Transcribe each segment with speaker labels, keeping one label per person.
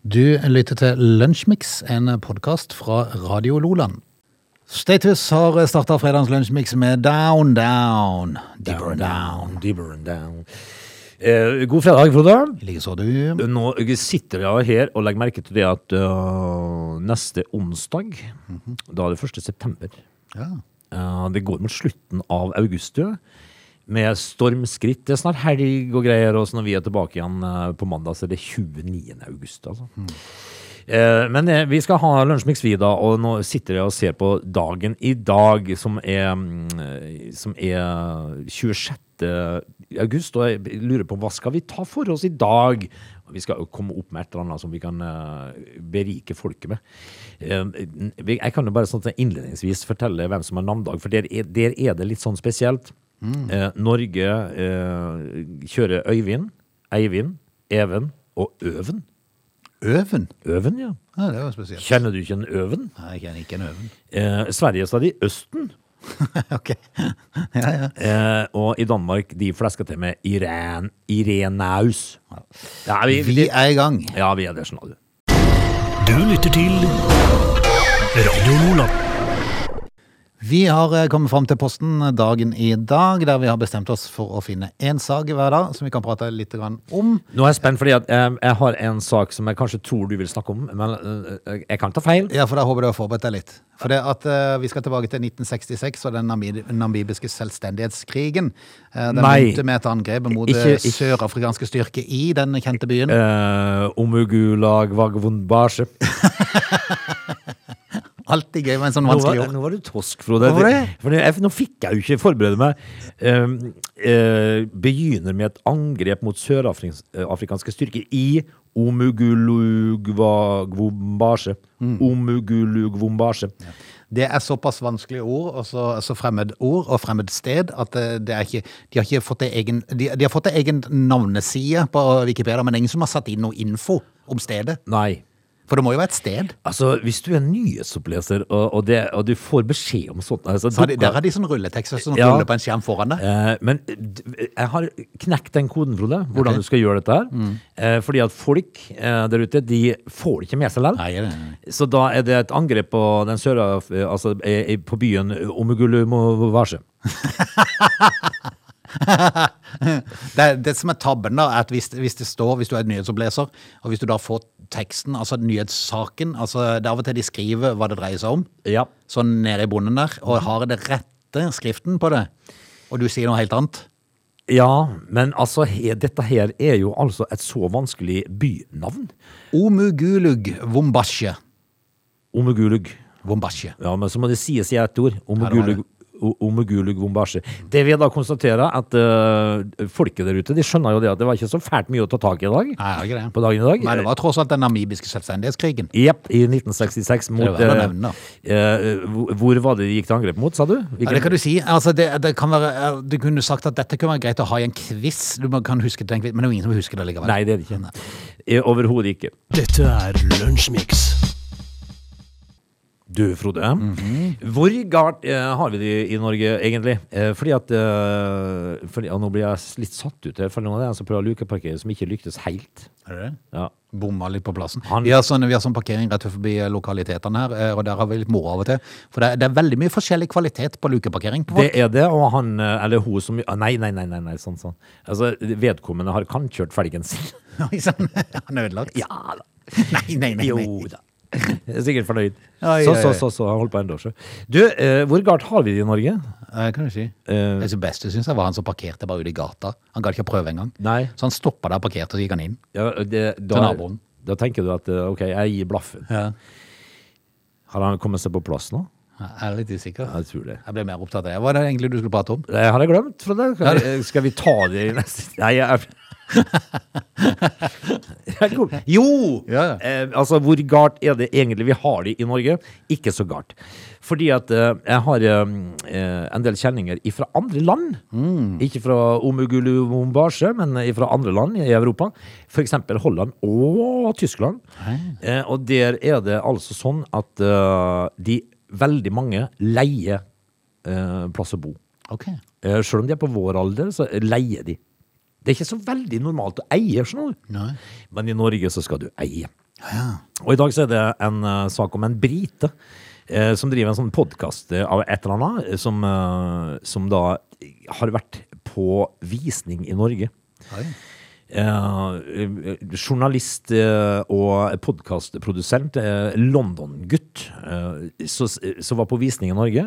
Speaker 1: Du lytter til Lunsjmix, en podkast fra Radio Loland. Status har starta fredagens Lunsjmix med Down Down. Deeper and Down.
Speaker 2: Deeper and down. Eh, god fredag, Frode.
Speaker 1: Likeså du.
Speaker 2: Nå sitter jeg her og legger merke til det at øh, neste onsdag, da er det 1. september,
Speaker 1: Ja.
Speaker 2: Eh, det går mot slutten av august, jo, med stormskritt. Det er snart helg og greier, og så når vi er tilbake igjen eh, på mandag, så er det 29. august, altså. Eh, Men eh, vi skal ha lunsjmix vi da, og nå sitter jeg og ser på dagen i dag, som er, mm, som er 26. august, og jeg lurer på hva skal vi ta for oss i dag? Vi skal jo komme opp med et eller annet som vi kan eh, berike folket med. Eh, vi- Jeg kan jo bare sånn innledningsvis fortelle hvem som har navndag, for der er, der er det litt sånn spesielt. Eh, Norge eh, kjører Øyvind, Eivind, Even og Øven.
Speaker 1: Øven.
Speaker 2: Øven, ja.
Speaker 1: Ja, det var spesielt.
Speaker 2: Kjenner du ikke en Øven?
Speaker 1: Nei, jeg kjenner ikke en Øven.
Speaker 2: Eh, Sverige sa de Østen,
Speaker 1: ok. ja, ja.
Speaker 2: eh, og i Danmark de flesker til med Iren, Irenaus. Ja, vi,
Speaker 1: Vi er i gang.
Speaker 2: ja, vi er det, skjønner du.
Speaker 3: Du lytter til Radio Lola.
Speaker 1: Vi har eh, kommet fram til posten dagen i dag, der vi har bestemt oss for å finne én sak hver dag som vi kan prate litt grann om.
Speaker 2: Nå er jeg spent, fordi at, eh, jeg har en sak som jeg kanskje tror du vil snakke om, men eh, jeg kan ta feil.
Speaker 1: Ja, for da håper jeg du har forberedt deg litt. For det at eh, vi skal tilbake til 1966 og den namib namibiske selvstendighetskrigen. Eh, den
Speaker 2: Nei.
Speaker 1: begynte med et angrep mot
Speaker 2: Ikke-
Speaker 1: eh,
Speaker 2: ikke-
Speaker 1: sørafrikanske styrker i den kjente byen.
Speaker 2: Eh, Omugulag vagvundbasje.
Speaker 1: Alltid gøy med en sånn
Speaker 2: Nå var,
Speaker 1: vanskelig ord.
Speaker 2: nå var du tosk, Frode.
Speaker 1: Hva var det?
Speaker 2: For jeg, nå fikk jeg jo ikke forberede meg. Ehm, eh, begynner med et angrep mot sørafrikanske styrker i Omugulugvombasje.
Speaker 1: Mm.
Speaker 2: Omugulugvombasje.
Speaker 1: Det er såpass vanskelige ord, og så, så fremmed ord og fremmed sted, at eh, det er ikke, de har ikke fått det egen, de, de har fått det egen navneside på Wikipedia, men ingen som har satt inn noe info om stedet.
Speaker 2: Nei.
Speaker 1: For det må jo være et sted.
Speaker 2: Altså, hvis du er nyhetsoppleser, og, og, det, og du får beskjed om sånt altså,
Speaker 1: Så har de,
Speaker 2: dukker-
Speaker 1: der er de sånn rulletekster som
Speaker 2: Ja.
Speaker 1: ruller på en skjerm foran deg.
Speaker 2: Eh, men d- jeg har knekt den koden, Frode, hvordan
Speaker 1: Ok. Mm.
Speaker 2: du skal gjøre dette her. Eh, fordi at folk eh, der ute, de får det ikke med seg likevel.
Speaker 1: Nei, det- nei.
Speaker 2: Så da er det et angrep på den søra, altså eh, på byen Omugulumovasje.
Speaker 1: Det, det som er tabben da, er at hvis, hvis det står, hvis du er et nyhetsoppleser, og hvis du da får teksten, altså nyhetssaken, altså det er av og til de skriver hva det dreier seg om,
Speaker 2: Ja.
Speaker 1: sånn nede i bunnen der,
Speaker 2: Mhm.
Speaker 1: og har det rette skriften på det, og du sier noe helt annet.
Speaker 2: Ja, men altså, he, dette her er jo altså et så vanskelig bynavn.
Speaker 1: Omugulug vombasje.
Speaker 2: Omugulug.
Speaker 1: Vombasje.
Speaker 2: Ja, men så må det sies i ett ord.
Speaker 1: Ja, det var
Speaker 2: Omugulug. o- Omugulug vombasje. Det vi da konstaterer, at eh, folket der ute, de skjønner jo det at det var ikke så fælt mye å ta tak i i dag.
Speaker 1: Nei, det er ikke
Speaker 2: På
Speaker 1: det.
Speaker 2: dagen i dag.
Speaker 1: Men det var tross alt den namibiske selvstendighetskrigen.
Speaker 2: Jepp, i 1966 mot
Speaker 1: Det er
Speaker 2: eh,
Speaker 1: verdt å nevne,
Speaker 2: eh, hvor- Hvor var det de gikk til angrep mot, sa du?
Speaker 1: Ja, det kan du si. Altså, det, det kan være, du kunne sagt at dette kunne være greit å ha i en quiz. Du må- kan huske det, i en quiz, men det er jo ingen som husker det likevel.
Speaker 2: Nei, det er det ikke. Eh, Overhodet ikke.
Speaker 3: Dette er Lunsjmix.
Speaker 2: Du, Frode. Hvor galt eh, har vi det i Norge, egentlig? Eh, fordi at eh, fordi, ja, Nå blir jeg litt satt ut her, for nå er det en som prøver å lukeparkere, som ikke lyktes helt.
Speaker 1: Er det det?
Speaker 2: Ja.
Speaker 1: bomma litt på plassen.
Speaker 2: Han-
Speaker 1: Vi, har sånn, vi har sånn parkering rett forbi lokalitetene her, eh, og der har vi litt moro av og til. For det er, det er veldig mye forskjellig kvalitet på lukeparkering. På
Speaker 2: Det er det, og han eh, eller hun som ah, Nei, nei, nei, nei, nei sånn, sånn. Altså, vedkommende har kankjørt felgen sin.
Speaker 1: Oi, sann. Liksom, Han er ødelagt.
Speaker 2: Ja da.
Speaker 1: Nei, nei, nei. nei.
Speaker 2: Jo da. Jeg er sikkert fornøyd.
Speaker 1: Oi, oi,
Speaker 2: så, så,
Speaker 1: oi.
Speaker 2: så, så. Han holdt på ennå, så. Du, eh, hvor galt har vi det i Norge?
Speaker 1: Eh, kan du si.
Speaker 2: Eh.
Speaker 1: Det som beste syns jeg var han som parkerte bare ute i gata. Han gadd ikke å prøve engang.
Speaker 2: Nei.
Speaker 1: Så han stoppa der og parkerte, og så gikk han inn.
Speaker 2: Ja, det,
Speaker 1: Til
Speaker 2: da,
Speaker 1: naboen.
Speaker 2: da tenker du at eh, OK, jeg gir blaffen. Har han kommet seg på plass nå?
Speaker 1: Jeg er litt usikker.
Speaker 2: Jeg tror det.
Speaker 1: Jeg ble mer opptatt av det. Hva er det egentlig du skulle prate om?
Speaker 2: Det har jeg glemt fra deg. Skal, vi- skal vi ta det i neste Nei, jeg, jeg kom. Jo!
Speaker 1: Ja.
Speaker 2: Eh, altså, hvor galt er det egentlig vi har det i Norge? Ikke så galt. Fordi at eh, jeg har eh, eh, en del kjenninger fra andre land. Ikke fra Omugulu Mombasje, men fra andre land i Europa. F.eks. Holland og Tyskland. Eh, og der er det altså sånn at eh, de veldig mange leier eh, plass å bo.
Speaker 1: Ok.
Speaker 2: Eh, Selv om de er på vår alder, så leier de. Det er ikke så veldig normalt å eie, sånn skjønner du.
Speaker 1: Nei.
Speaker 2: Men i Norge så skal du eie. Og i dag så er det en eh, sak om en brite eh, som driver en sånn podkast av et eller annet, eh, som, eh, som da har vært på visning i Norge.
Speaker 1: Oi.
Speaker 2: Eh, journalist eh, og podkastprodusent, eh, London-gutt, eh, som som var på visning i Norge.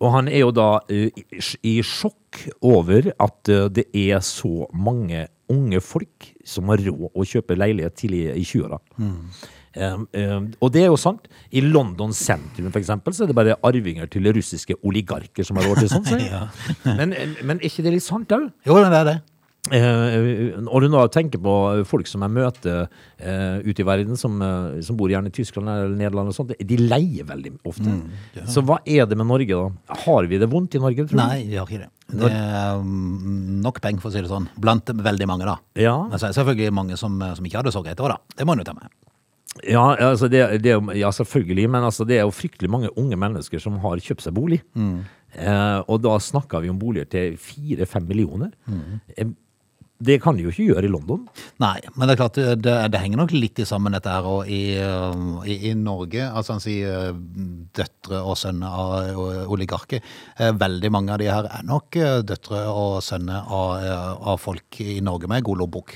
Speaker 2: Og han er jo da eh, i i sjokk over at eh, det er så mange unge folk som har råd å kjøpe leilighet tidlig i 20-åra. Um, um, og det er jo sant. I London sentrum for eksempel, så er det bare arvinger til russiske oligarker som har råd til sånt. sier jeg. men, eh, men er ikke det litt sant òg?
Speaker 1: Jo, men det er det.
Speaker 2: Eh, når du nå tenker på folk som jeg møter eh, ute i verden, som, eh, som bor gjerne i Tyskland eller Nederland, og sånt, de leier veldig ofte. Så hva er det med Norge, da? Har vi det vondt i Norge, tror du?
Speaker 1: Nei, vi har ikke det. Det er mm, nok penger, for å si det sånn. Blant veldig mange, da.
Speaker 2: Ja.
Speaker 1: Men så er det selvfølgelig mange som, eh, som ikke hadde så greit år, da. Det må en jo ta med.
Speaker 2: Ja, altså det, det, er jo- ja, selvfølgelig, men altså det er jo fryktelig mange unge mennesker som har kjøpt seg bolig. Eh, og da snakker vi om boliger til fire-fem millioner. Eh, Det kan de jo ikke gjøre i London.
Speaker 1: Nei, men det er klart, eh, det, det henger nok litt i sammen dette her og i, um, i, i Norge. Altså han sier um, døtre og sønner av uh, oligarker. Eh, Veldig mange av de her er nok eh, døtre og sønner av, eh, av folk i Norge med god lommebok.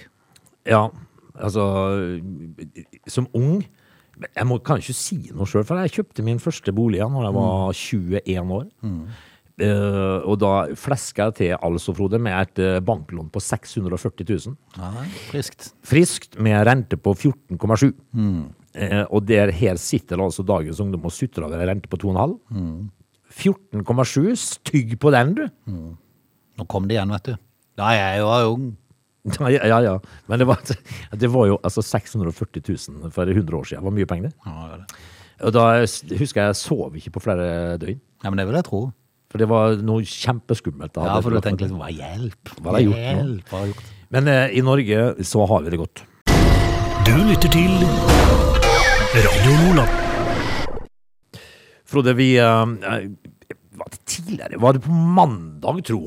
Speaker 2: Ja, altså Som ung Jeg må, kan ikke si noe sjøl, for jeg kjøpte min første bolig da jeg var 21 år. Eh, og da fleska jeg til, altså, Frode, med et eh, banklån på 640 000.
Speaker 1: Nei, friskt.
Speaker 2: Friskt med rente på 14,7. Eh, og der her sitter altså dagens ungdom og sutrer over en rente på 2,5. 14,7, stygg på den, du!
Speaker 1: Nå kom det igjen, vet du. Da er jeg jo ung.
Speaker 2: Ja, ja, ja. Men det var, altså, det var jo altså 640 000 for 100 år siden. Det var mye penger, det.
Speaker 1: Ja, det er det.
Speaker 2: Og da s- husker jeg jeg sov ikke på flere døgn.
Speaker 1: Ja, men det vil jeg tro.
Speaker 2: For det var noe kjempeskummelt. da.
Speaker 1: Ja, for du
Speaker 2: Det-
Speaker 1: tenker liksom, hva hjelp?
Speaker 2: Hva har jeg gjort nå?
Speaker 1: Hjelp, hva har jeg gjort?
Speaker 2: Men eh, i Norge så har vi det godt.
Speaker 3: Du lytter til Radio Nordland.
Speaker 2: Frode, vi eh, eh, var det tidligere, var det på mandag, tro,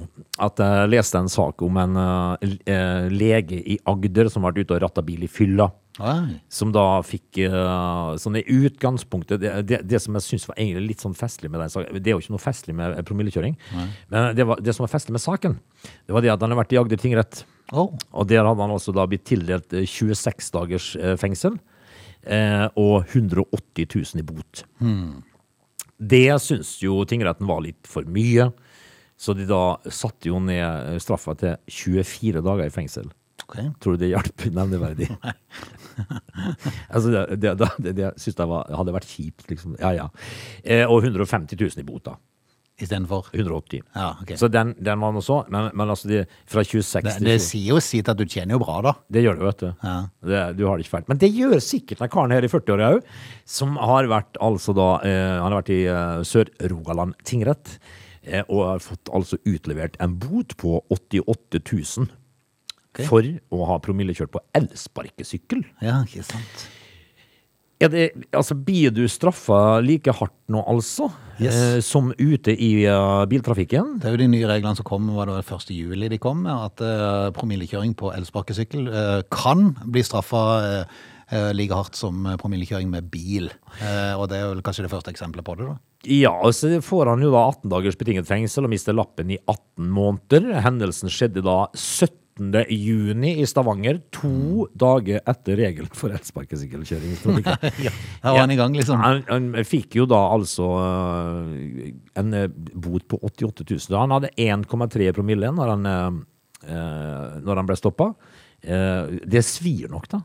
Speaker 2: at jeg leste en sak om en eh, l- eh, lege i Agder som var ute og ratta bil i fylla.
Speaker 1: Oi.
Speaker 2: Som da fikk eh, sånn i utgangspunktet Det, det, det som jeg syns var egentlig litt sånn festlig med den saken Det er jo ikke noe festlig med eh, promillekjøring, men det, var, det som var festlig med saken, det var det at han har vært i Agder tingrett.
Speaker 1: Å,
Speaker 2: Og der hadde han altså da blitt tildelt eh, 26 dagers eh, fengsel eh, og 180 000 i bot. Det syns jo tingretten var litt for mye, så de da satte jo ned eh, straffa til 24 dager i fengsel.
Speaker 1: ok.
Speaker 2: Tror du det hjalp nevneverdig? altså, det, det, det, det, det syns jeg var, hadde vært kjipt, liksom. Ja, ja. Eh, og 150 000 i bot, da.
Speaker 1: I stedet for.
Speaker 2: 180.
Speaker 1: Ja, ok.
Speaker 2: Så den, den var nå så, men, men altså de, fra 26
Speaker 1: Det,
Speaker 2: til
Speaker 1: det
Speaker 2: 24
Speaker 1: sier jo sitt at du tjener jo bra, da.
Speaker 2: det gjør det, vet du.
Speaker 1: Ja.
Speaker 2: Det, du har det ikke fælt. Men det gjør sikkert den karen her i 40-åra òg, som har vært altså da eh, Han har vært i eh, Sør-Rogaland tingrett eh, og har fått altså utlevert en bot på 88 000
Speaker 1: Ok.
Speaker 2: for å ha promillekjørt på elsparkesykkel.
Speaker 1: Ja, ikke sant.
Speaker 2: Er det, altså, blir du straffa like hardt nå, altså,
Speaker 1: Yes.
Speaker 2: eh, som ute i eh, biltrafikken?
Speaker 1: Det er jo de nye reglene som kom, var det vel 1. juli de kom, med at eh, promillekjøring på elsparkesykkel eh, kan bli straffa eh, eh, like hardt som eh, promillekjøring med bil. Eh, og det er vel kanskje det første eksempelet på det, da.
Speaker 2: Ja, og så får han jo da 18 dagers betinget fengsel og mister lappen i 18 måneder. Hendelsen skjedde da 17. juni i Stavanger,
Speaker 1: Mm.
Speaker 2: to dager etter regelen for elsparkesykkelkjøring. i trafikken.
Speaker 1: Her var han i gang, liksom.
Speaker 2: Han, han fikk jo da altså øh, en øh, bot på 88 000. Han hadde 1,3 promille når han, øh, øh, når han ble stoppa. Eh, Det svir nok, da.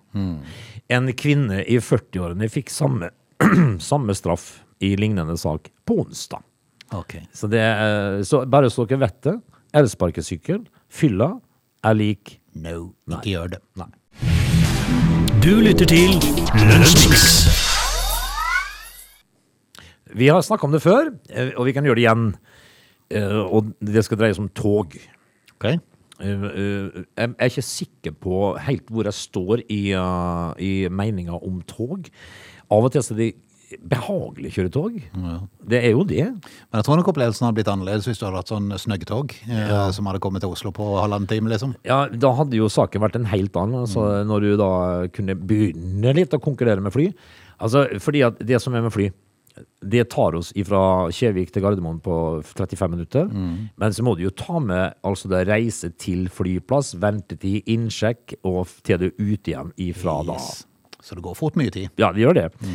Speaker 2: En kvinne i 40-årene fikk samme, samme straff i lignende sak på onsdag.
Speaker 1: Ok.
Speaker 2: Så, det, eh, så bare så dere vet det, elsparkesykkel, fylla, er lik
Speaker 1: No, ikke gjør det.
Speaker 2: Nei.
Speaker 3: Du lytter til Lunsjmix.
Speaker 2: Vi har snakka om det før, eh, og vi kan gjøre det igjen. Eh, Og det skal dreie seg om tog.
Speaker 1: Ok.
Speaker 2: Eh, eh, Jeg er ikke sikker på helt hvor jeg står i, eh, i meninga om tog. Av og til så er det behagelig å kjøre tog. Det er jo det.
Speaker 1: Men jeg tror nok opplevelsen hadde blitt annerledes hvis du hadde hatt sånn snøggetog eh, som hadde kommet til Oslo på halvannen time, liksom.
Speaker 2: Ja, Da hadde jo saken vært en helt annen, altså, når du da kunne begynne litt å konkurrere med fly. Altså, fordi at det som er med fly, det tar oss fra Kjevik til Gardermoen på 35 minutter. Men så må du jo ta med altså da reise til flyplass, ventetid, innsjekk, og f- til du er ute igjen ifra da.
Speaker 1: Yes. Så det går fort mye tid.
Speaker 2: Ja, det gjør det.
Speaker 1: Mm.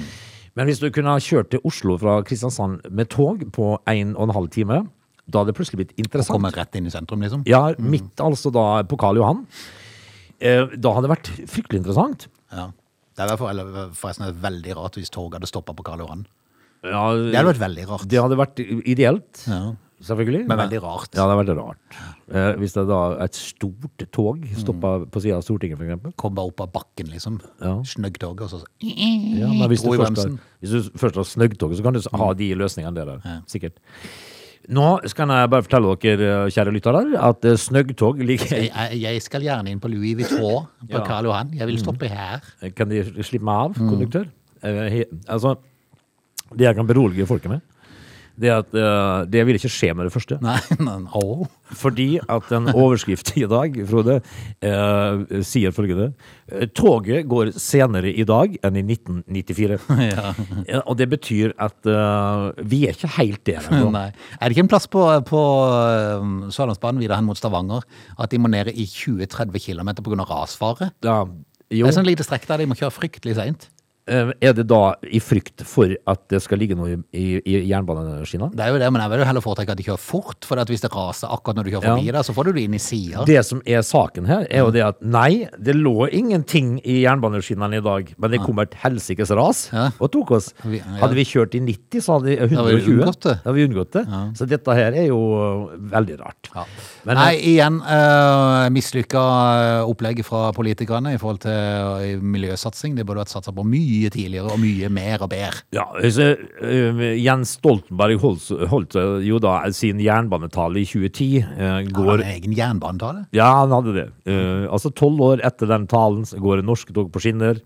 Speaker 2: Men hvis du kunne ha kjørt til Oslo fra Kristiansand med tog på 1 12 time, da hadde det plutselig blitt interessant.
Speaker 1: Kommer rett inn i sentrum, liksom.
Speaker 2: Ja, midt altså da på Karl Johan. Eh, Da hadde det vært fryktelig interessant.
Speaker 1: Ja. Det er derfor- eller forresten er det veldig rart hvis toget hadde stoppa på Karl Johan.
Speaker 2: Ja,
Speaker 1: Det hadde vært veldig rart.
Speaker 2: det hadde vært ideelt,
Speaker 1: Ja.
Speaker 2: selvfølgelig.
Speaker 1: Men veldig rart.
Speaker 2: Ja, det hadde vært rart. Eh, Hvis det da et stort tog stoppa
Speaker 1: Mm.
Speaker 2: på sida av Stortinget, for eksempel.
Speaker 1: Kom bare opp av bakken, liksom.
Speaker 2: Ja.
Speaker 1: Snøggtoget, og så
Speaker 2: Ja, men hvis, du
Speaker 1: Dro i
Speaker 2: først har,
Speaker 1: bremsen.
Speaker 2: hvis du først har snøggtoget, så kan du s- ha de løsningene der, der. Sikkert. Nå skal jeg bare fortelle dere, eh, kjære lyttere, at eh, snøggtog ligger
Speaker 1: jeg, jeg- jeg skal gjerne inn på Louis Vuitton på
Speaker 2: Ja. Mm.
Speaker 1: Karl Johan. Jeg vil stoppe her.
Speaker 2: Kan de slippe meg av, konduktør? Eh, he- Altså, det jeg kan berolige folket med, det er at eh, det vil ikke skje med det første.
Speaker 1: Nei, men åh.
Speaker 2: Fordi at en overskrift i dag, Frode, eh, sier følgende eh, Toget går senere i dag enn i 1994. Ja, og det betyr at eh, vi er ikke helt der ennå.
Speaker 1: Nei. Er det ikke en plass på, på um, Sørlandsbanen videre hen mot Stavanger at de må ned i 20-30 km pga. rasfare?
Speaker 2: Ja, jo.
Speaker 1: Det er sånn lite strekk der de må kjøre fryktelig seint.
Speaker 2: Eh, Er det da i frykt for at det skal ligge noe i, i, i jernbaneskinna?
Speaker 1: Det er jo det, men jeg vil jo heller foretrekke at de kjører fort, for at hvis det raser akkurat når du kjører
Speaker 2: Ja.
Speaker 1: forbi der, så får du det inn i sida.
Speaker 2: Det som er saken her, er jo det at nei, det lå ingenting i jernbaneskinnene i dag, men det kom et helsikes ras
Speaker 1: Ja.
Speaker 2: og tok oss.
Speaker 1: Vi- ja.
Speaker 2: Hadde vi kjørt i 90, så hadde vi
Speaker 1: hadde vi
Speaker 2: 120.
Speaker 1: unngått det.
Speaker 2: Da hadde vi unngått det. Så dette her er jo øh, veldig rart.
Speaker 1: Ja.
Speaker 2: Men,
Speaker 1: Nei, igjen, uh, mislykka øh, opplegg fra politikerne i forhold til øh, miljøsatsing. Det burde vært satsa på mye tidligere og mye mer og bedre.
Speaker 2: Ja, så, øh, Jens Stoltenberg holdt, holdt jo da sin jernbanetale i 2010. øh,
Speaker 1: Har
Speaker 2: går
Speaker 1: han en egen jernbanetale?
Speaker 2: Ja, han hadde det. Eh, altså Tolv år etter den talen så går det norske tog på skinner.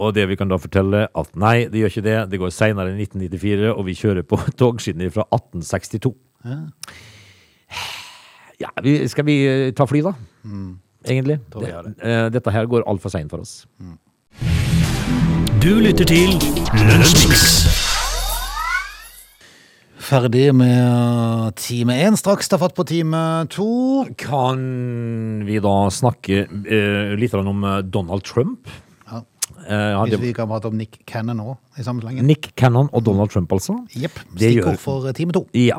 Speaker 2: Og det vi kan da fortelle, at nei, det gjør ikke det. Det går seinere enn 1994, og vi kjører på togskinner fra 1862. Ja, vi, Skal vi eh, ta fly, da? Egentlig.
Speaker 1: Mm. vi gjør det.
Speaker 2: Eh, dette her går altfor seint for oss.
Speaker 3: Du lytter til Lunsjmix.
Speaker 1: Ferdig med eh, time én. Straks ta fatt på time to.
Speaker 2: Kan vi da snakke eh, litt grann om eh, Donald Trump?
Speaker 1: Ja.
Speaker 2: Eh, han-
Speaker 1: Hvis vi kan prate om Nick Cannon nå i sammenhengen.
Speaker 2: Nick Cannon og Donald Trump, altså?
Speaker 1: Jepp.
Speaker 2: Det gjør-
Speaker 1: Stikkord for eh, time to.
Speaker 2: Ja.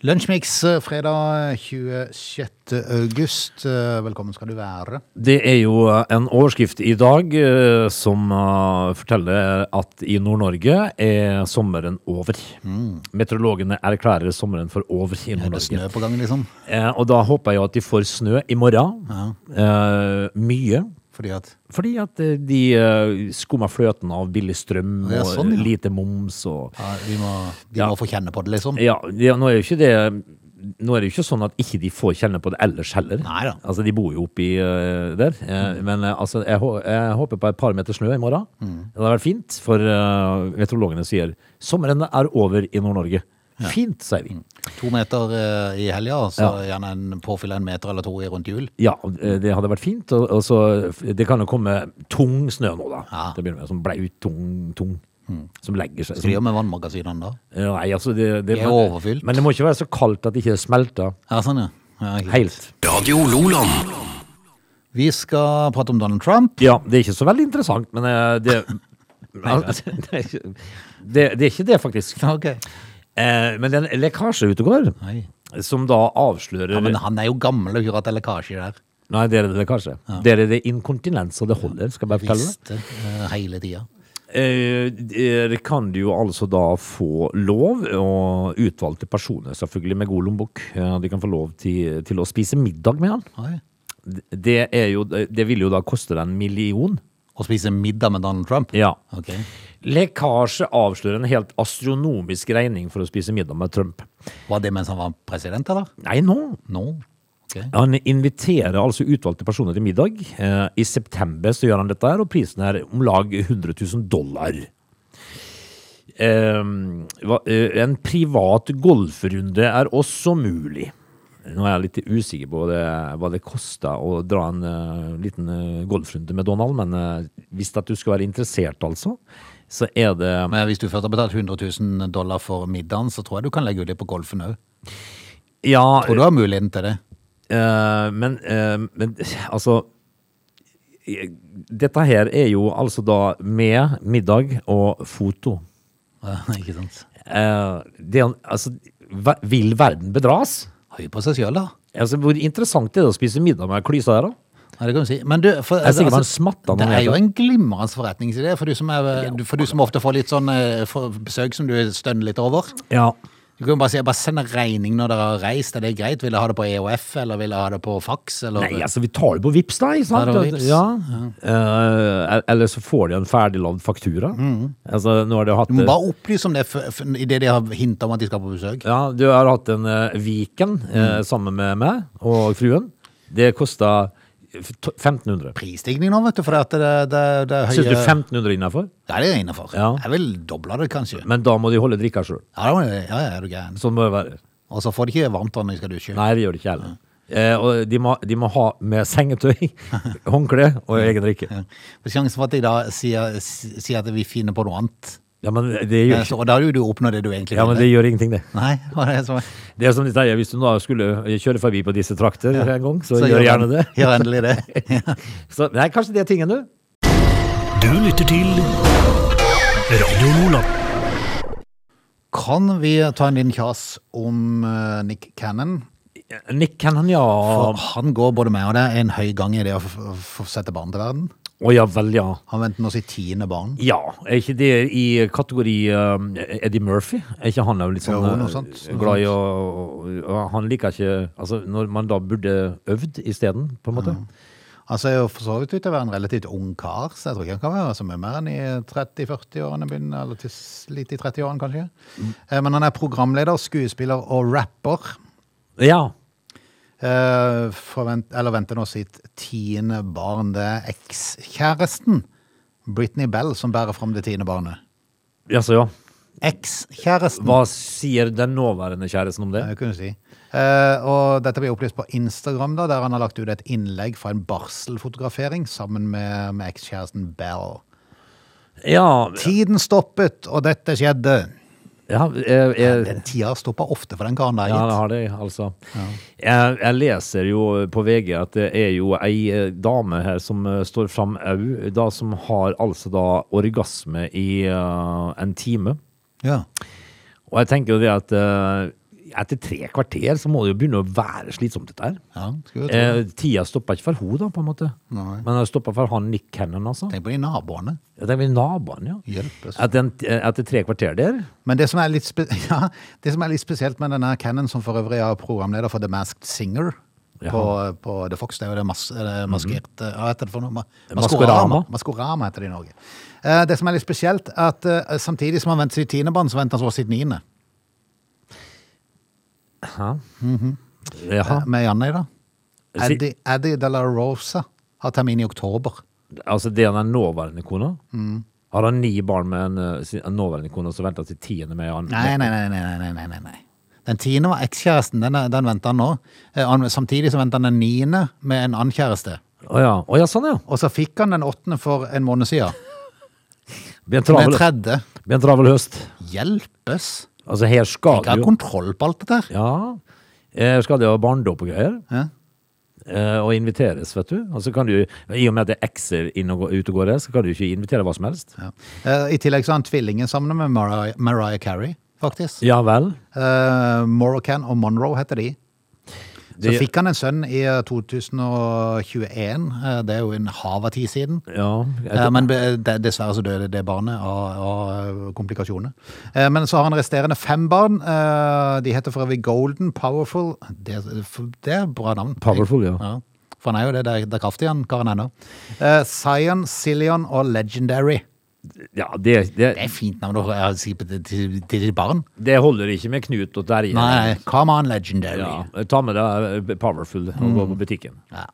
Speaker 1: Lunsjmix eh, fredag 26. august. Eh, Velkommen skal du være.
Speaker 2: Det er jo en overskrift i dag eh, som eh, forteller at i Nord-Norge er sommeren over. Meteorologene erklærer sommeren for over i
Speaker 1: Er Mm. det
Speaker 2: Nord-Norge.
Speaker 1: snø på gang, liksom?
Speaker 2: Eh, og da håper jeg jo at de får snø i morgen. Eh, mye.
Speaker 1: Fordi at
Speaker 2: Fordi at eh, de eh, skummer fløten av billig strøm og
Speaker 1: Ja, sånn, ja.
Speaker 2: lite moms og
Speaker 1: ja, vi må, de
Speaker 2: Ja.
Speaker 1: må få kjenne på det, liksom.
Speaker 2: Ja, det, nå er jo ikke det nå er det jo ikke sånn at ikke de får kjenne på det ellers heller.
Speaker 1: Neida. Mm.
Speaker 2: Altså, De bor jo oppi eh, der. Eh, Men eh, altså, jeg, hå- jeg håper på et par meter snø i morgen.
Speaker 1: Mm.
Speaker 2: Det hadde vært fint, for eh, meteorologene sier sommeren er over i Nord-Norge. Fint, sier
Speaker 1: Mm.
Speaker 2: vi.
Speaker 1: To meter eh, i helga, så gjerne en påfylle en meter eller to i rundt jul.
Speaker 2: Ja, eh, det hadde vært fint. Og, og så, det kan jo komme tung snø nå, da.
Speaker 1: Ja. Mm.
Speaker 2: Til å begynne med. Sånn blaut, tung, tung. Som legger seg.
Speaker 1: Så vi gjør med vannmagasinene da.
Speaker 2: Ja, Nei, altså det, det,
Speaker 1: De er overfylt.
Speaker 2: Men det må ikke være så kaldt at det ikke smelter
Speaker 1: Ja, sånn, ja. ja ikke sant.
Speaker 2: helt.
Speaker 3: Radio Loland.
Speaker 1: Vi skal prate om Donald Trump.
Speaker 2: Ja, det er ikke så veldig interessant, men eh, det Altså, det, er ikke- det, det er ikke det, faktisk.
Speaker 1: Ok.
Speaker 2: Eh, men det er en lekkasje ute og går,
Speaker 1: Nei.
Speaker 2: som da avslører
Speaker 1: Ja, men han er jo gammel og gjør at det er lekkasje der.
Speaker 2: Nei, det er det lekkasje. Det er det inkontinens, og det holder, skal jeg bare fortelle.
Speaker 1: Visste eh, hele tida.
Speaker 2: Eh, der kan du jo altså da få lov, og utvalgte personer selvfølgelig med god lommebok, eh, de kan få lov til, til å spise middag med han.
Speaker 1: Oi.
Speaker 2: Det, er jo, det vil jo da koste deg en million.
Speaker 1: Å spise middag med Donald Trump?
Speaker 2: Ja.
Speaker 1: Ok.
Speaker 2: Lekkasje avslører en helt astronomisk regning for å spise middag med Trump.
Speaker 1: Var det mens han var president, eller?
Speaker 2: Nei, nå
Speaker 1: Nå? Ok.
Speaker 2: Han inviterer altså utvalgte personer til middag. Eh, I september så gjør han dette her, og prisen er om lag 100 000 dollar. Eh, hva- eh, en privat golfrunde er også mulig. Nå er jeg litt usikker på hva det, hva det koster å dra en eh, liten eh, golfrunde med Donald, men eh, hvis at du skal være interessert, altså, så er det
Speaker 1: Men hvis du først har betalt 100 000 dollar for middagen, så tror jeg du kan legge ut det på golfen òg.
Speaker 2: Ja,
Speaker 1: Tror du har muligheten til det.
Speaker 2: Eh, men, eh, men altså eh, Dette her er jo altså da med middag og foto.
Speaker 1: Ikke sant?
Speaker 2: Eh, det, er- altså, ver- vil verden bedras?
Speaker 1: Høy på seg sjøl, da.
Speaker 2: Altså, hvor interessant er det å spise middag med klysa der, da?
Speaker 1: Ja, det kan du si. Men du, for, altså,
Speaker 2: er sikkert man smatter når
Speaker 1: det
Speaker 2: man
Speaker 1: er
Speaker 2: heter
Speaker 1: jo
Speaker 2: det.
Speaker 1: en glimrende forretningsidé for du som, er, du- for du som ofte får litt sånn eh, for- besøk som du stønner litt over.
Speaker 2: Ja.
Speaker 1: Du kan jo bare si bare send en regning når dere har reist, er det greit? Vil dere ha det på EOF, eller vil dere ha det på fax? Eller?
Speaker 2: Nei, altså, vi tar det på Vips da, ikke sant?
Speaker 1: Tar det på Vipps.
Speaker 2: Ja. Eh, eller så får de en ferdiglagd faktura. Altså, nå har de hatt
Speaker 1: Mm. Du må bare opplyse om det f- f- i det de har hintet om at de skal på besøk.
Speaker 2: eh, Ja, du har hatt en eh, Viken
Speaker 1: Mm.
Speaker 2: eh, sammen med meg og fruen. Det kosta 1500.
Speaker 1: Prisstigning nå, vet du, for at det, det, det er høye...
Speaker 2: Syns du 1500 innafor?
Speaker 1: Ja, det er jeg innenfor.
Speaker 2: Ja.
Speaker 1: Jeg vil doble det, kanskje.
Speaker 2: Men da må de holde drikka sjøl.
Speaker 1: Ja, da må jeg- ja, ja, er du gæren.
Speaker 2: Sånn må det være.
Speaker 1: Og så får de ikke varmt vann når de skal dusje.
Speaker 2: Nei, det gjør de ikke heller. Eh, og de må, de må ha med sengetøy, håndkle og egen drikke.
Speaker 1: Ja. For sjansen for at de da sier, sier at vi finner på noe annet.
Speaker 2: Ja, men det
Speaker 1: Ja,
Speaker 2: gjør,
Speaker 1: så, og da har jo du oppnådd det du egentlig
Speaker 2: ja, men det
Speaker 1: ville.
Speaker 2: gjør ingenting, det.
Speaker 1: Nei, hva er det som
Speaker 2: Det er som de sier, Hvis du da skulle kjøre forbi på disse trakter en gang, så, gjør
Speaker 1: han-
Speaker 2: gjerne det.
Speaker 1: Gjør endelig det. Ja.
Speaker 2: Så, nei, kanskje det er tingen, du.
Speaker 3: Du lytter til Radio Lola.
Speaker 1: Kan vi ta en liten kjas om eh, Nick Cannon?
Speaker 2: Nick Cannon, ja.
Speaker 1: For
Speaker 2: Å
Speaker 1: han går både med og det er en høy gang i det å f- f- f- sette barn til verden.
Speaker 2: ja vel, ja.
Speaker 1: Han venter nå sitt tiende barn.
Speaker 2: Ja, er ikke det i kategori um, Eddie Murphy? Er ikke han jo litt sånn
Speaker 1: Jo, noe
Speaker 2: uh,
Speaker 1: sånt, noe
Speaker 2: glad i å og Han liker ikke Altså, når man da burde øvd isteden, på en måte.
Speaker 1: Altså, jeg er jo for så vidt ut til å være en relativt ung kar, så jeg tror ikke han kan være så mye mer enn i 30-40-årene, begynner, eller til s- litt i 30-årene kanskje. Eh, Men han er programleder, skuespiller og rapper.
Speaker 2: Ja.
Speaker 1: Eh, forvent, eller venter nå sitt tiende barn. Det er ekskjæresten Britney Bell som bærer fram det tiende barnet.
Speaker 2: Jaså, ja.
Speaker 1: Ekskjæresten,
Speaker 2: Hva sier den nåværende kjæresten om det?
Speaker 1: eh, kunne du si. Eh, og dette blir opplyst på Instagram, da, der han har lagt ut et innlegg fra en barselfotografering sammen med, med ekskjæresten Bell.
Speaker 2: Ja,
Speaker 1: Tiden stoppet, og dette skjedde.
Speaker 2: ja jeg, jeg,
Speaker 1: Den tida stopper ofte for den karen der,
Speaker 2: ja,
Speaker 1: gitt.
Speaker 2: det har det, altså. Jeg, jeg leser jo på VG at det er jo ei eh, dame her som eh, står fram au, da som har altså da orgasme i eh, en time.
Speaker 1: Ja.
Speaker 2: Og jeg tenker jo det at eh, etter tre kvarter så må det jo begynne å være slitsomt dette her.
Speaker 1: Ja, skulle jo tro det.
Speaker 2: Eh, tida stoppa ikke for henne, da, på en måte.
Speaker 1: Nei.
Speaker 2: Men den stoppa for han Nick Cannon, altså.
Speaker 1: Tenk på de naboene.
Speaker 2: Ja, Det er vel naboen, ja.
Speaker 1: Hjelpes.
Speaker 2: Etter, en, eh, etter tre kvarter der
Speaker 1: Men det som, er litt spe ja, det som er litt spesielt med denne Cannon, som for øvrig er programleder for The Masked Singer på, på The Fox, det er jo det mas eh, maskerte Hva heter det for noe? Ma-
Speaker 2: Mhm. Maskorama.
Speaker 1: Maskorama heter det i Norge. Eh, det som er litt spesielt, er at eh, samtidig som han venter sitt tiende barn, så venter han så sitt niende.
Speaker 2: Hæ? Jaha.
Speaker 1: Eh, Med Janne i dag.
Speaker 2: Si-
Speaker 1: Eddie, Eddie de la Rosa har termin i oktober.
Speaker 2: Altså, det er den nåværende kona?
Speaker 1: Mm.
Speaker 2: Har han ni barn med en, eh, sin- en nåværende kone som venter til tiende med han?
Speaker 1: Nei, nei, nei, nei, nei, nei, nei, nei. Den tiende var ekskjæresten, den, er- den venter han nå. Eh, han- Samtidig så venter han den niende med en annen kjæreste.
Speaker 2: Å ja. Å, ja, sånn ja.
Speaker 1: Og så fikk han den åttende for en måned siden.
Speaker 2: Blir
Speaker 1: Med
Speaker 2: en travel,
Speaker 1: tredje.
Speaker 2: blir en travel høst.
Speaker 1: Hjelpes!
Speaker 2: Altså, her skal
Speaker 1: Jeg har
Speaker 2: du
Speaker 1: kontroll på alt dette her.
Speaker 2: Ja. Eh, skal det ha barndåp og greier?
Speaker 1: Ja.
Speaker 2: Eh, og inviteres, vet du. Og så kan du, I og med at det er ekser inn og gå- ut og går der, så kan du ikke invitere hva som helst.
Speaker 1: Ja. Eh, I tillegg så har han tvillingen sammen med Mariah, Mariah Carey, faktisk.
Speaker 2: Ja vel.
Speaker 1: Eh, Morrocan og Monroe heter de. Så
Speaker 2: Det-
Speaker 1: fikk han en sønn i eh, 2021, eh, det er jo en hav av tid siden.
Speaker 2: Ja, jeg,
Speaker 1: Eh, Men be- de- dessverre så døde det barnet av, av komplikasjoner. Eh, Men så har han resterende fem barn. Eh, De heter for øvrig Golden, Powerful Det, det er bra navn.
Speaker 2: Powerful, ja.
Speaker 1: For han er jo det, det er, det er kraftig, han karen ennå. Eh, Scion, Cillian og Legendary.
Speaker 2: Ja, det, det,
Speaker 1: Det er fint navn å ha si på- til, til ditt barn.
Speaker 2: det holder ikke med Knut og Terje.
Speaker 1: Nei, come on, legendary.
Speaker 2: Ja, ta med deg eh, Powerful og
Speaker 1: Mm.
Speaker 2: gå på butikken.
Speaker 1: Ja.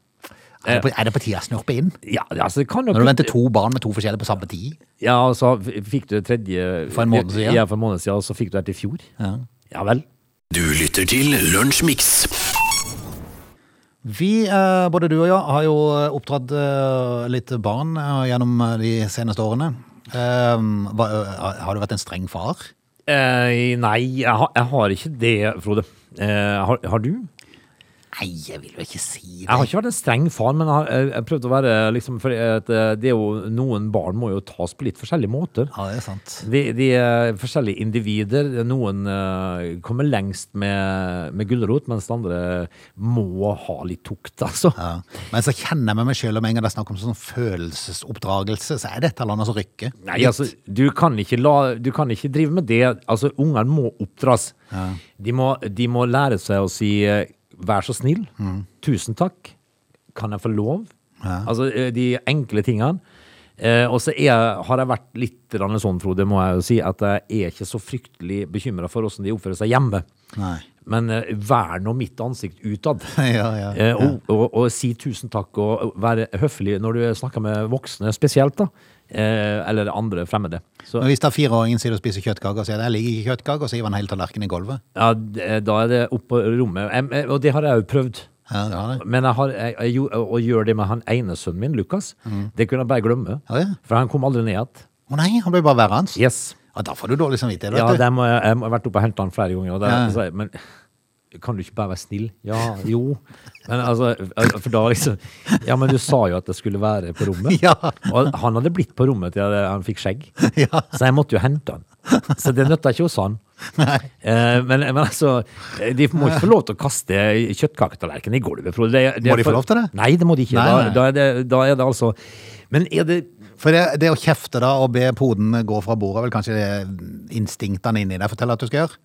Speaker 1: Er, det på, er det på tide å snurpe inn?
Speaker 2: Ja, altså, det kan nok
Speaker 1: Når du venter to barn med to forskjellige på samme tid?
Speaker 2: Ja, og så f- fikk du det tredje
Speaker 1: For en måned siden.
Speaker 2: Ja, for en måned siden, og så fikk du det til i fjor.
Speaker 1: Ja.
Speaker 2: Ja vel.
Speaker 3: Du lytter til Lunsjmix.
Speaker 1: Vi, eh, både du og jeg, har jo oppdratt eh, litt barn eh, gjennom eh, de seneste årene. Eh, hva, eh, har du vært en streng far?
Speaker 2: Eh, nei, jeg, har- jeg har ikke det, Frode. Eh, har, har du?
Speaker 1: Nei, jeg vil jo ikke si det.
Speaker 2: Jeg har ikke vært en streng far, men jeg har eh, jeg, jeg prøvd å være liksom, for at, eh, det er jo, Noen barn må jo tas på litt forskjellige måter.
Speaker 1: Ja, det er sant.
Speaker 2: De, de er forskjellige individer. Noen eh, kommer lengst med, med gulrot, mens andre må ha litt tukt, altså.
Speaker 1: Ja. Men så kjenner jeg med meg sjøl om en gang det er snakk om sånn følelsesoppdragelse, så er det et eller annet som rykker.
Speaker 2: Nei, altså, du kan ikke, la, du kan ikke drive med det. Altså, Ungene må oppdras. De, må, de må lære seg å si eh, 'vær så snill', 'tusen takk', 'kan jeg få lov'? Altså eh, de enkle tingene. Eh, og så er jeg- har jeg vært litt grann sånn, Frode, må jeg jo si, at jeg er ikke så fryktelig bekymra for åssen de oppfører seg hjemme.
Speaker 1: Nei.
Speaker 2: Men eh, vær nå mitt ansikt utad.
Speaker 1: Ja, ja.
Speaker 2: Eh, og, og, og si tusen takk og være høflig når du snakker med voksne spesielt, da. Eh, eller andre fremmede. Så,
Speaker 1: Men hvis det er fireåringen sier og spiser kjøttkaker, så sier det, jeg liker ikke kjøttkaker, og så hiver han hele tallerkenen i gulvet.
Speaker 2: ja, d- eh, da er det opp på rommet. Em, eh, og det har jeg jo prøvd.
Speaker 1: Ja, det har det.
Speaker 2: Men jeg har, jeg, jeg, gjorde- å gjøre det med han ene sønnen min, Lukas, det kunne jeg bare glemme.
Speaker 1: Mm. Ja, ja.
Speaker 2: For han kom aldri ned igjen.
Speaker 1: Å nei, han blir bare værende.
Speaker 2: Yes.
Speaker 1: Ja, da får du dårlig samvittighet.
Speaker 2: Ja,
Speaker 1: vet du.
Speaker 2: der må jeg, jeg må- jeg har vært oppe og hentet han flere ganger. Og der,
Speaker 1: Ja.
Speaker 2: så jeg, men kan du ikke bare være snill? Ja, jo. Men altså, for da liksom Ja, men du sa jo at jeg skulle være på rommet.
Speaker 1: Ja.
Speaker 2: Og han hadde blitt på rommet til jeg- han fikk skjegg.
Speaker 1: Ja.
Speaker 2: Så jeg måtte jo hente han. Så det nytta ikke hos han. Eh, men, men altså, de må ikke få lov til å kaste kjøttkaketallerkenen i gulvet. Frode. Det- det er
Speaker 1: Må de få
Speaker 2: for-
Speaker 1: lov til det?
Speaker 2: Nei, det må de ikke.
Speaker 1: Nei, nei.
Speaker 2: Da, da, er det, da er det altså Men er det
Speaker 1: For det, det å kjefte da og be poden gå fra bordet, er vel kanskje det instinktene inni deg forteller at du skal gjøre?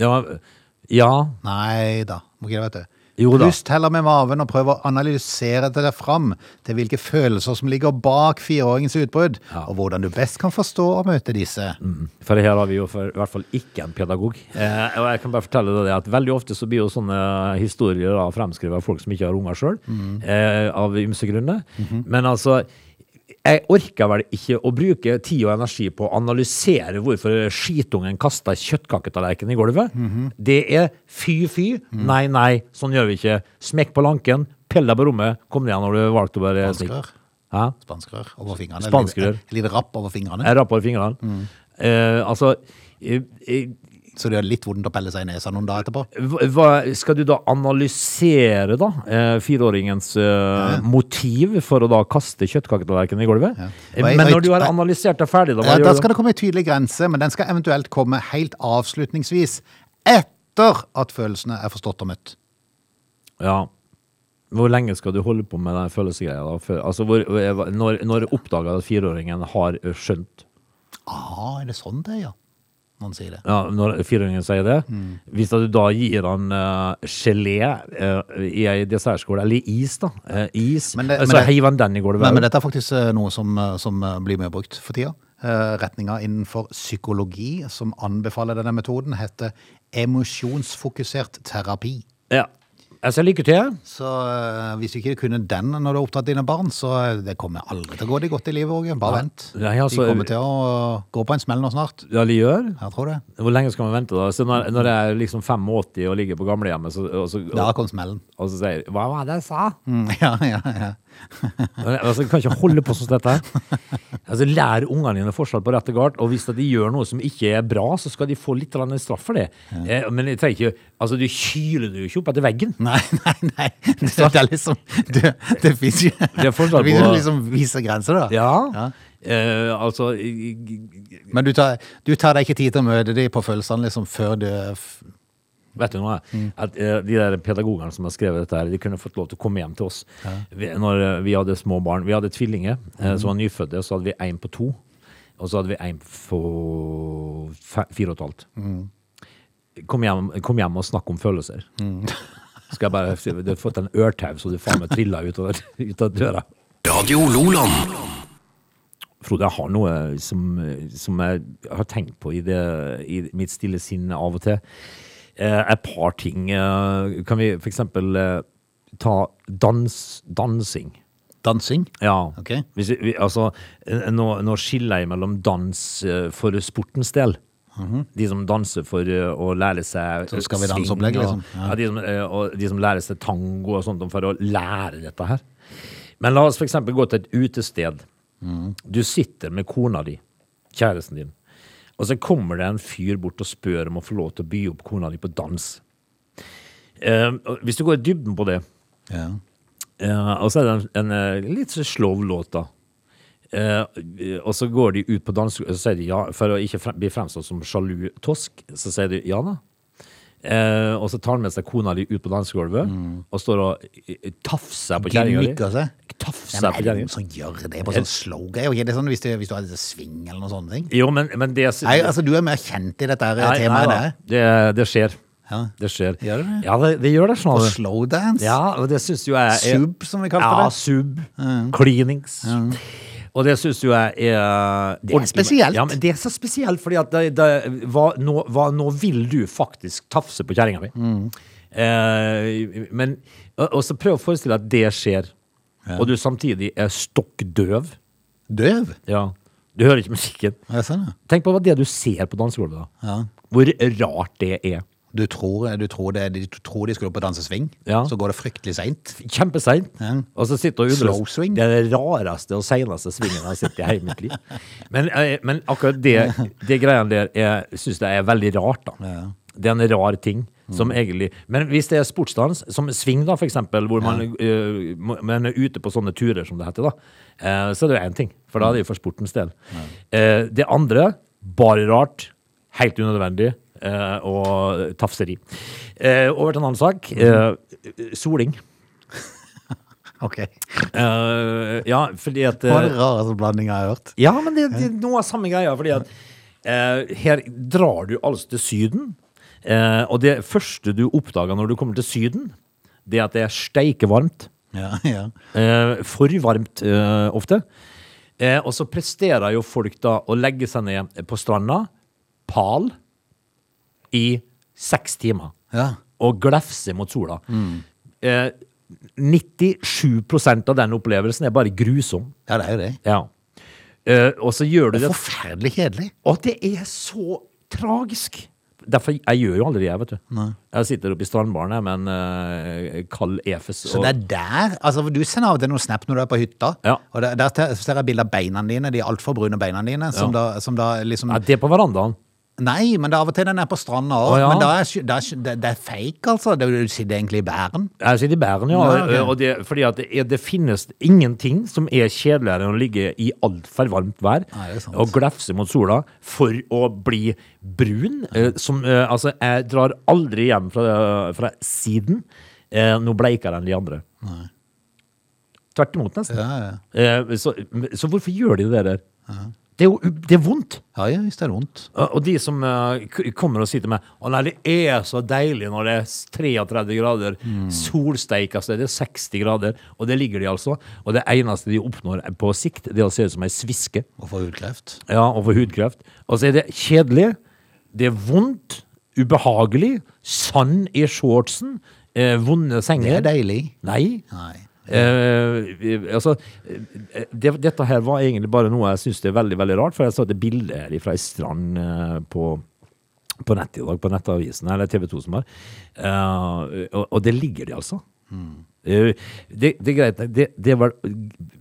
Speaker 2: Ja. ja
Speaker 1: Nei da, må ikke det, vet du.
Speaker 2: Jo da.
Speaker 1: Pust heller med maven og prøv å analysere det fram til hvilke følelser som ligger bak fireåringens utbrudd,
Speaker 2: Ja. Mm.
Speaker 1: og hvordan du best kan forstå og møte disse.
Speaker 2: For her har vi jo for, i hvert fall ikke en pedagog. Eh, og jeg kan bare fortelle deg det at Veldig ofte så blir jo sånne historier da, fremskrevet av folk som ikke har unger sjøl, eh, av ymse grunner. Men altså jeg orker vel ikke å bruke tid og energi på å analysere hvorfor skitungen kasta kjøttkaketallerkenen i gulvet. Det er fy-fy, nei, nei, sånn gjør vi ikke. Smekk på lanken, pell deg på rommet, kom ned igjen når du valgte å være snill.
Speaker 1: Spanskrør.
Speaker 2: Hæ?
Speaker 1: Spanskrør over fingrene.
Speaker 2: Spanskrør.
Speaker 1: Et lite rapp over fingrene,
Speaker 2: Jeg rapper fingrene. Eh, altså eh, eh,
Speaker 1: så det gjør litt vondt å pelle seg i nesa noen dager etterpå.
Speaker 2: Hva, hva- skal du da analysere da, eh, fireåringens eh, motiv for å da kaste kjøttkaketallerkenen i gulvet? Eh,
Speaker 1: Nei,
Speaker 2: Men
Speaker 1: nei,
Speaker 2: når du har
Speaker 1: nei.
Speaker 2: analysert det ferdig, da, hva
Speaker 1: Ja, Eh, da
Speaker 2: gjør du?
Speaker 1: skal det komme en tydelig grense, men den skal eventuelt komme helt avslutningsvis etter at følelsene er forstått og møtt.
Speaker 2: Ja. Hvor lenge skal du holde på med den følelsesgreia? da? Før, altså, hvor, hva- når, når oppdager at fireåringen har eh, skjønt
Speaker 1: Ah, er det sånn det er, ja? Noen sier det.
Speaker 2: ja, Når fireåringen sier det,
Speaker 1: Mm.
Speaker 2: hvis at du da gir han eh, gelé eh, i ei dessertskål, eller is, da, eh, is,
Speaker 1: Men det-
Speaker 2: eh,
Speaker 1: men det-
Speaker 2: så heiver han den i gulvet.
Speaker 1: Men, men
Speaker 2: også.
Speaker 1: dette er faktisk eh, noe som, eh, som eh, blir mye brukt for tida. Eh, Retninga innenfor psykologi som anbefaler denne metoden, heter emosjonsfokusert terapi.
Speaker 2: Ja. Jeg sier lykke til.
Speaker 1: Så eh, hvis du ikke kunne den når du har opptatt dine barn, så eh, det kommer aldri til å gå deg godt i livet, Åge. Bare vent.
Speaker 2: Nei, altså-
Speaker 1: De kommer til å gå på en smell nå snart.
Speaker 2: Ja, de gjør.
Speaker 1: Jeg tror det.
Speaker 2: Hvor lenge skal man vente da? Så når, når jeg er liksom 85 og ligger på gamlehjemmet, så, og, så,
Speaker 1: Da
Speaker 2: og,
Speaker 1: kom smellen.
Speaker 2: og så sier jeg, Hva var det jeg sa?
Speaker 1: Mm, ja, ja, ja.
Speaker 2: Altså, jeg kan ikke holde på sånn som dette. her. Altså, Lær ungene dine forskjell på rett og galt, og hvis at de gjør noe som ikke er bra, så skal de få litt eller annet straff for det. Eh, men jeg trenger ikke, altså, du kyler det jo ikke opp etter veggen.
Speaker 1: Nei, nei, nei. Det, det er liksom Det, det fins jo
Speaker 2: er
Speaker 1: Det
Speaker 2: fortsatt
Speaker 1: finnes jo
Speaker 2: på-
Speaker 1: liksom visse grenser, da.
Speaker 2: Ja.
Speaker 1: Ja.
Speaker 2: Eh, altså i- i-
Speaker 1: Men du tar, du tar deg ikke tid til å møte dem på følelsene liksom før du f-
Speaker 2: Vet du noe? At eh, De der pedagogene som har skrevet dette, her, de kunne fått lov til å komme hjem til oss vi, når eh, vi hadde små barn. Vi hadde tvillinger eh, som var nyfødte, så hadde vi én på to. Og så hadde vi én på fe- fire og et halvt. Kom, hjem, kom hjem og snakk om følelser. Skal jeg bare si, Du har fått en ørtau så du faen meg trilla ut av, ut av døra.
Speaker 3: Radio Loland.
Speaker 2: Frode, jeg har noe som, som jeg har tenkt på i, det, i mitt stille sinn av og til. Eh, et par ting. Eh, kan vi for eksempel eh, ta dans, dansing?
Speaker 1: Dansing?
Speaker 2: Ja.
Speaker 1: Ok.
Speaker 2: Hvis vi, vi, altså, eh, nå, nå skiller jeg mellom dans eh, for sportens del. De som danser for eh, å lære seg
Speaker 1: Mhm. Så skal vi
Speaker 2: eh, swing
Speaker 1: danseopplegg,
Speaker 2: og-
Speaker 1: liksom. Ja.
Speaker 2: Ja. de, som, eh, og de som lærer seg tango og sånt for å lære dette her. Men la oss for eksempel gå til et utested.
Speaker 1: Mhm.
Speaker 2: Du sitter med kona di, kjæresten din, og så kommer det en fyr bort og spør om å få lov til å by opp kona di på dans. Eh, og hvis du går i dybden på det,
Speaker 1: Ja.
Speaker 2: Eh, og så er det en, en eh, litt så slow låt, da. Eh, og så går de ut på dansk, og så sier de ja, for å ikke frem, bli fremstått som sjalu tosk, så sier de ja da. Eh, og så tar han med seg kona di ut på dansegulvet
Speaker 1: Mm.
Speaker 2: og står og eh, tafser på
Speaker 1: De
Speaker 2: kjerringa di.
Speaker 1: nikker seg.
Speaker 2: Tafser
Speaker 1: Hvem er det noen
Speaker 2: på kjerringa.
Speaker 1: som gjør det på sånn slow-greier? Ikke det sånn hvis, det, hvis du har litt sving eller noen sånne ting?
Speaker 2: Jo, men, men det
Speaker 1: Nei, altså du er mer kjent i dette her temaet
Speaker 2: da.
Speaker 1: der.
Speaker 2: det, det skjer.
Speaker 1: Ja.
Speaker 2: Det skjer.
Speaker 1: Gjør det det?
Speaker 2: Ja, det, det gjør det.
Speaker 1: Og
Speaker 2: Sånn.
Speaker 1: slowdance?
Speaker 2: Ja, og det syns jo jeg er
Speaker 1: Sub, som vi kalte
Speaker 2: Ja,
Speaker 1: det.
Speaker 2: sub. Klinings. Og det syns jo jeg er
Speaker 1: Det er spesielt.
Speaker 2: Ja, men det er så spesielt, fordi at det, det, hva, nå, hva, nå vil du faktisk tafse på kjerringa mi.
Speaker 1: Mm.
Speaker 2: Eh, men og, og så prøv å forestille deg at det skjer, og du samtidig er stokk døv.
Speaker 1: Døv?
Speaker 2: Ja. Du hører ikke musikken.
Speaker 1: Ja, sånn, ja.
Speaker 2: Tenk på hva det du ser på dansegulvet, da. Hvor rart det er.
Speaker 1: Du tror, du tror, det, de, du tror de skulle opp og danse swing,
Speaker 2: Ja.
Speaker 1: så går det fryktelig seint.
Speaker 2: kjempeseint.
Speaker 1: Ja.
Speaker 2: Og så sitter jeg og undrer
Speaker 1: Slow swing.
Speaker 2: Det er det rareste og seneste svingen jeg har sett i hele mitt liv. Men, eh, men akkurat det, det greiene der er- synes jeg er veldig rart, da. Det er en rar ting. Som egentlig, men hvis det er sportsdans, som sving, da, for eksempel, hvor man, eh, må- man er ute på sånne turer, som det heter, da, eh, så er det én ting. For da er det jo for sportens del. Eh, det andre, bare rart. Helt unødvendig. eh, og tafseri. Eh, over til en annen sak.
Speaker 1: Mhm.
Speaker 2: Eh, soling.
Speaker 1: Ok.
Speaker 2: Eh, ja, fordi at
Speaker 1: Det var
Speaker 2: eh,
Speaker 1: den rareste blandinga jeg har hørt.
Speaker 2: Ja, men det, det er noe av samme greia. Fordi at eh, her drar du altså til Syden. eh, og det første du oppdager når du kommer til Syden, det er at det er steikevarmt.
Speaker 1: Ja, ja.
Speaker 2: Eh, for varmt eh, ofte. Eh, og så presterer jo folk da å legge seg ned på stranda, pal, i seks timer.
Speaker 1: Ja.
Speaker 2: Og glefse mot sola. Eh, 97 av den opplevelsen er bare grusom.
Speaker 1: ja, det er jo det.
Speaker 2: Ja. Eh, og så gjør du det
Speaker 1: Forferdelig kjedelig.
Speaker 2: Og det er så tragisk! Derfor, Jeg gjør jo aldri det, vet du. Jeg sitter oppe i strandbaren her med en eh, kald efes.
Speaker 1: Så det er der altså Du sender av og til noen snap når du er på hytta,
Speaker 2: Ja.
Speaker 1: og der, der te- ser jeg bilde av beina dine, de altfor brune beina dine, som, da, som da liksom
Speaker 2: ja, det er på verandaen.
Speaker 1: Nei, men det er av og til den er på stranda òg.
Speaker 2: Å, ja.
Speaker 1: Men da er, sky- da er, sky- det, det er fake, altså. Det, du sitter egentlig i bæren.
Speaker 2: Jeg sitter i Bæren, ja.
Speaker 1: Ja, ok.
Speaker 2: og det, fordi at det, er, det finnes ingenting som er kjedeligere enn å ligge i altfor varmt vær
Speaker 1: Nei, det er sant.
Speaker 2: og glefse mot sola for å bli brun. Eh, som, eh, altså, jeg drar aldri hjem fra, fra siden eh, noe bleikere enn de andre. Tvert imot, nesten.
Speaker 1: Ja, ja.
Speaker 2: Eh, så, så hvorfor gjør de det der? Det er jo u- det er vondt.
Speaker 1: Ja, ja, hvis det er vondt.
Speaker 2: Og og de som eh, k- kommer og sitter med Å nei, det er så deilig når det er 33 grader,
Speaker 1: Mm.
Speaker 2: solsteik, altså det er 60 grader, og det ligger de altså. Og det eneste de oppnår på sikt, det er å se ut som ei sviske
Speaker 1: Å få hudkreft.
Speaker 2: ja, og for hudkreft. Og så er det kjedelig, det er vondt, ubehagelig, sand i shortsen, eh, vonde
Speaker 1: Det
Speaker 2: senger.
Speaker 1: er deilig.
Speaker 2: Nei.
Speaker 1: Nei.
Speaker 2: Eh, vi- altså, eh, det, dette her var egentlig bare noe jeg syns er veldig veldig rart, for jeg så et bilde her fra ei strand eh, på, på nettet i dag, på Nettavisen, eller TV 2 som har, Eh, og, og det ligger de altså.
Speaker 1: Mm.
Speaker 2: Eh, det, det er greit, det, det er vel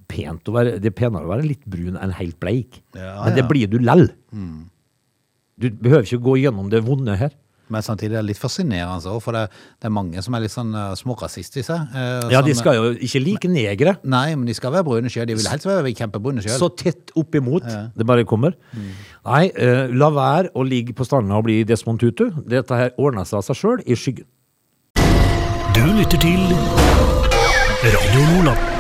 Speaker 2: pent å være, det er penere å være litt brun enn helt bleik,
Speaker 1: Ja, Mm.
Speaker 2: men det
Speaker 1: ja.
Speaker 2: blir du lell. Du behøver ikke gå gjennom det vonde her.
Speaker 1: Men samtidig er det litt fascinerende også, for det, det er mange som er litt sånn eh, smårasistiske. eh,
Speaker 2: Ja,
Speaker 1: som-
Speaker 2: de skal jo ikke like negre.
Speaker 1: Nei, men de skal være brune sjøl. De vil helst være kjempebrune sjøl.
Speaker 2: Så tett oppimot. Det bare kommer. Nei, eh, la være å ligge på stranda og bli Desmond Tutu. Dette her ordner seg av seg sjøl i skyggen.
Speaker 3: Du lytter til Radio Nordland.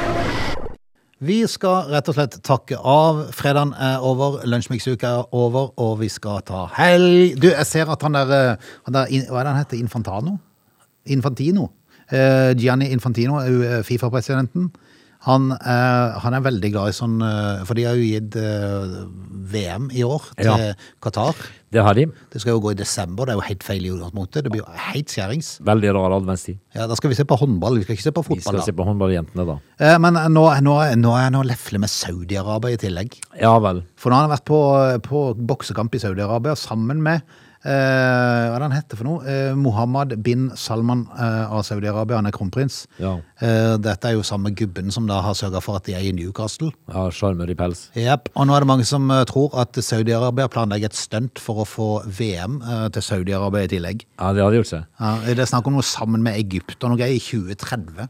Speaker 1: Vi skal rett og slett takke av. Fredagen er over, lunsjmiksuka er over, og vi skal ta helg. Du, jeg ser at han der, eh, han der in- Hva er det han heter? Infantano? Infantino. Eh, Gianni Infantino, er jo, eh, Fifa-presidenten. Han, eh, han er veldig glad i sånn eh, For de har jo gitt eh, VM i år til
Speaker 2: Ja.
Speaker 1: Qatar.
Speaker 2: Det har de.
Speaker 1: Det skal jo gå i desember, det er jo helt feil i utgangspunktet. Det blir jo helt skjærings.
Speaker 2: Veldig rar adventstid.
Speaker 1: Ja, da skal vi se på håndball, vi skal ikke se på
Speaker 2: Vi
Speaker 1: fotball.
Speaker 2: skal se
Speaker 1: da.
Speaker 2: på håndballjentene, da.
Speaker 1: Eh, men nå, nå, nå er han og lefler med Saudi-Arabia i tillegg.
Speaker 2: Ja vel.
Speaker 1: For nå har han vært på, på boksekamp i Saudi-Arabia sammen med eh, Hva er det han heter for noe? Eh, Mohammed bin Salman eh, av Saudi-Arabia. Han er kronprins.
Speaker 2: Ja.
Speaker 1: Eh, dette er jo samme gubben som da har sørga for at de er i Newcastle.
Speaker 2: Ja, Sjarmør i pels.
Speaker 1: Jep, Og nå er det mange som eh, tror at Saudi-Arabia planlegger et stunt for å få VM eh, til Saudi-Arabia i tillegg.
Speaker 2: Ja, det hadde gjort seg.
Speaker 1: Ja, det er snakk om noe sammen med Egypt og noe greier i 2030.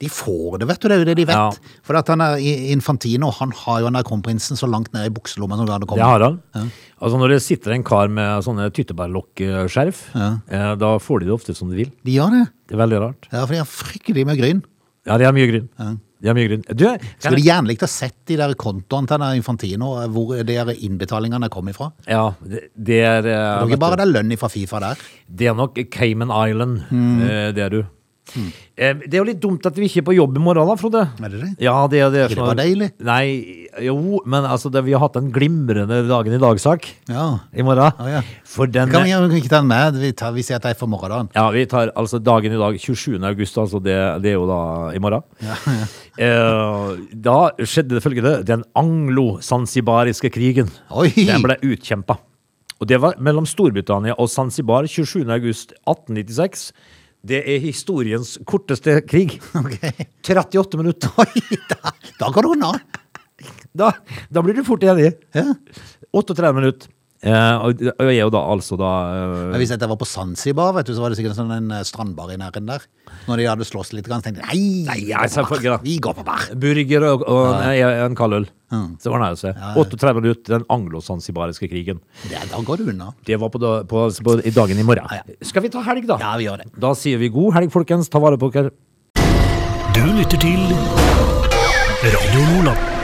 Speaker 1: De får det, vet du. Det er jo det de
Speaker 2: Ja.
Speaker 1: vet. For at han er i- Infantino han har jo han der kronprinsen så langt ned i bukselomma som han
Speaker 2: Det
Speaker 1: kommer.
Speaker 2: har han. Altså Når det sitter en kar med sånne tyttebærlokkskjerf, eh, da får de det ofte som de vil.
Speaker 1: De gjør det.
Speaker 2: Det er veldig rart.
Speaker 1: Ja, for de har fryktelig med gryn.
Speaker 2: Ja, de har mye grunn. De har mye grunn. Du, kan
Speaker 1: Skulle
Speaker 2: jeg,
Speaker 1: gjerne likt å sett de der kontoene til den Infantino, eh, hvor de der innbetalingene kom ifra.
Speaker 2: ja, det, det er eh,
Speaker 1: Det var
Speaker 2: vet
Speaker 1: ikke bare
Speaker 2: du,
Speaker 1: det er lønn fra Fifa der.
Speaker 2: Det er nok Cayman Island,
Speaker 1: Mm.
Speaker 2: eh, det er du. Eh, Det er jo litt dumt at vi ikke er på jobb i morgen, da, Frode.
Speaker 1: Er det det?
Speaker 2: Ja, det er det.
Speaker 1: Ikke det bare deilig?
Speaker 2: Nei, jo, men altså, det, vi har hatt en glimrende dagen i dag-sak
Speaker 1: Ja.
Speaker 2: i morgen.
Speaker 1: Ah, Ja, ja.
Speaker 2: For den
Speaker 1: Kan vi kan vi ikke ta den med? Vi, tar, vi sier at det er for morgendagen.
Speaker 2: Ja, vi tar altså dagen i dag, 27. august, altså det, det er jo da i morgen. Eh, da skjedde det følgende. Den anglo-sansibariske krigen,
Speaker 1: Oi!
Speaker 2: den ble utkjempa. Og det var mellom Storbritannia og Zanzibar 27. august 1896. Det er historiens korteste krig.
Speaker 1: Ok.
Speaker 2: 38 minutter.
Speaker 1: Oi, da, da går det unna.
Speaker 2: Da, da blir du fort enig.
Speaker 1: Ja.
Speaker 2: 38 minutter. Eh, og, og jeg er jo da altså da eh,
Speaker 1: Men hvis dette var på Zanzibar, vet du, så var det sikkert en sånn en eh, strandbar i nærheten der. Når de hadde slåss litt, grann, så tenkte de nei,
Speaker 2: Nei,
Speaker 1: vi
Speaker 2: ja,
Speaker 1: går på
Speaker 2: selvfølgelig da.
Speaker 1: bar. vi går på bar.
Speaker 2: Burger og, og en, en kald øl. Så ordna det seg.
Speaker 1: Ja, ja.
Speaker 2: 38 minutter, den anglo-sansibariske krigen.
Speaker 1: Det, da går det unna.
Speaker 2: Det var på, da, på, på i dagen i morgen.
Speaker 1: Ja,
Speaker 2: Skal vi ta helg, da?
Speaker 1: Ja, vi gjør det.
Speaker 2: Da sier vi god helg, folkens. Ta vare på dere.
Speaker 3: Du lytter til Radio Nordland.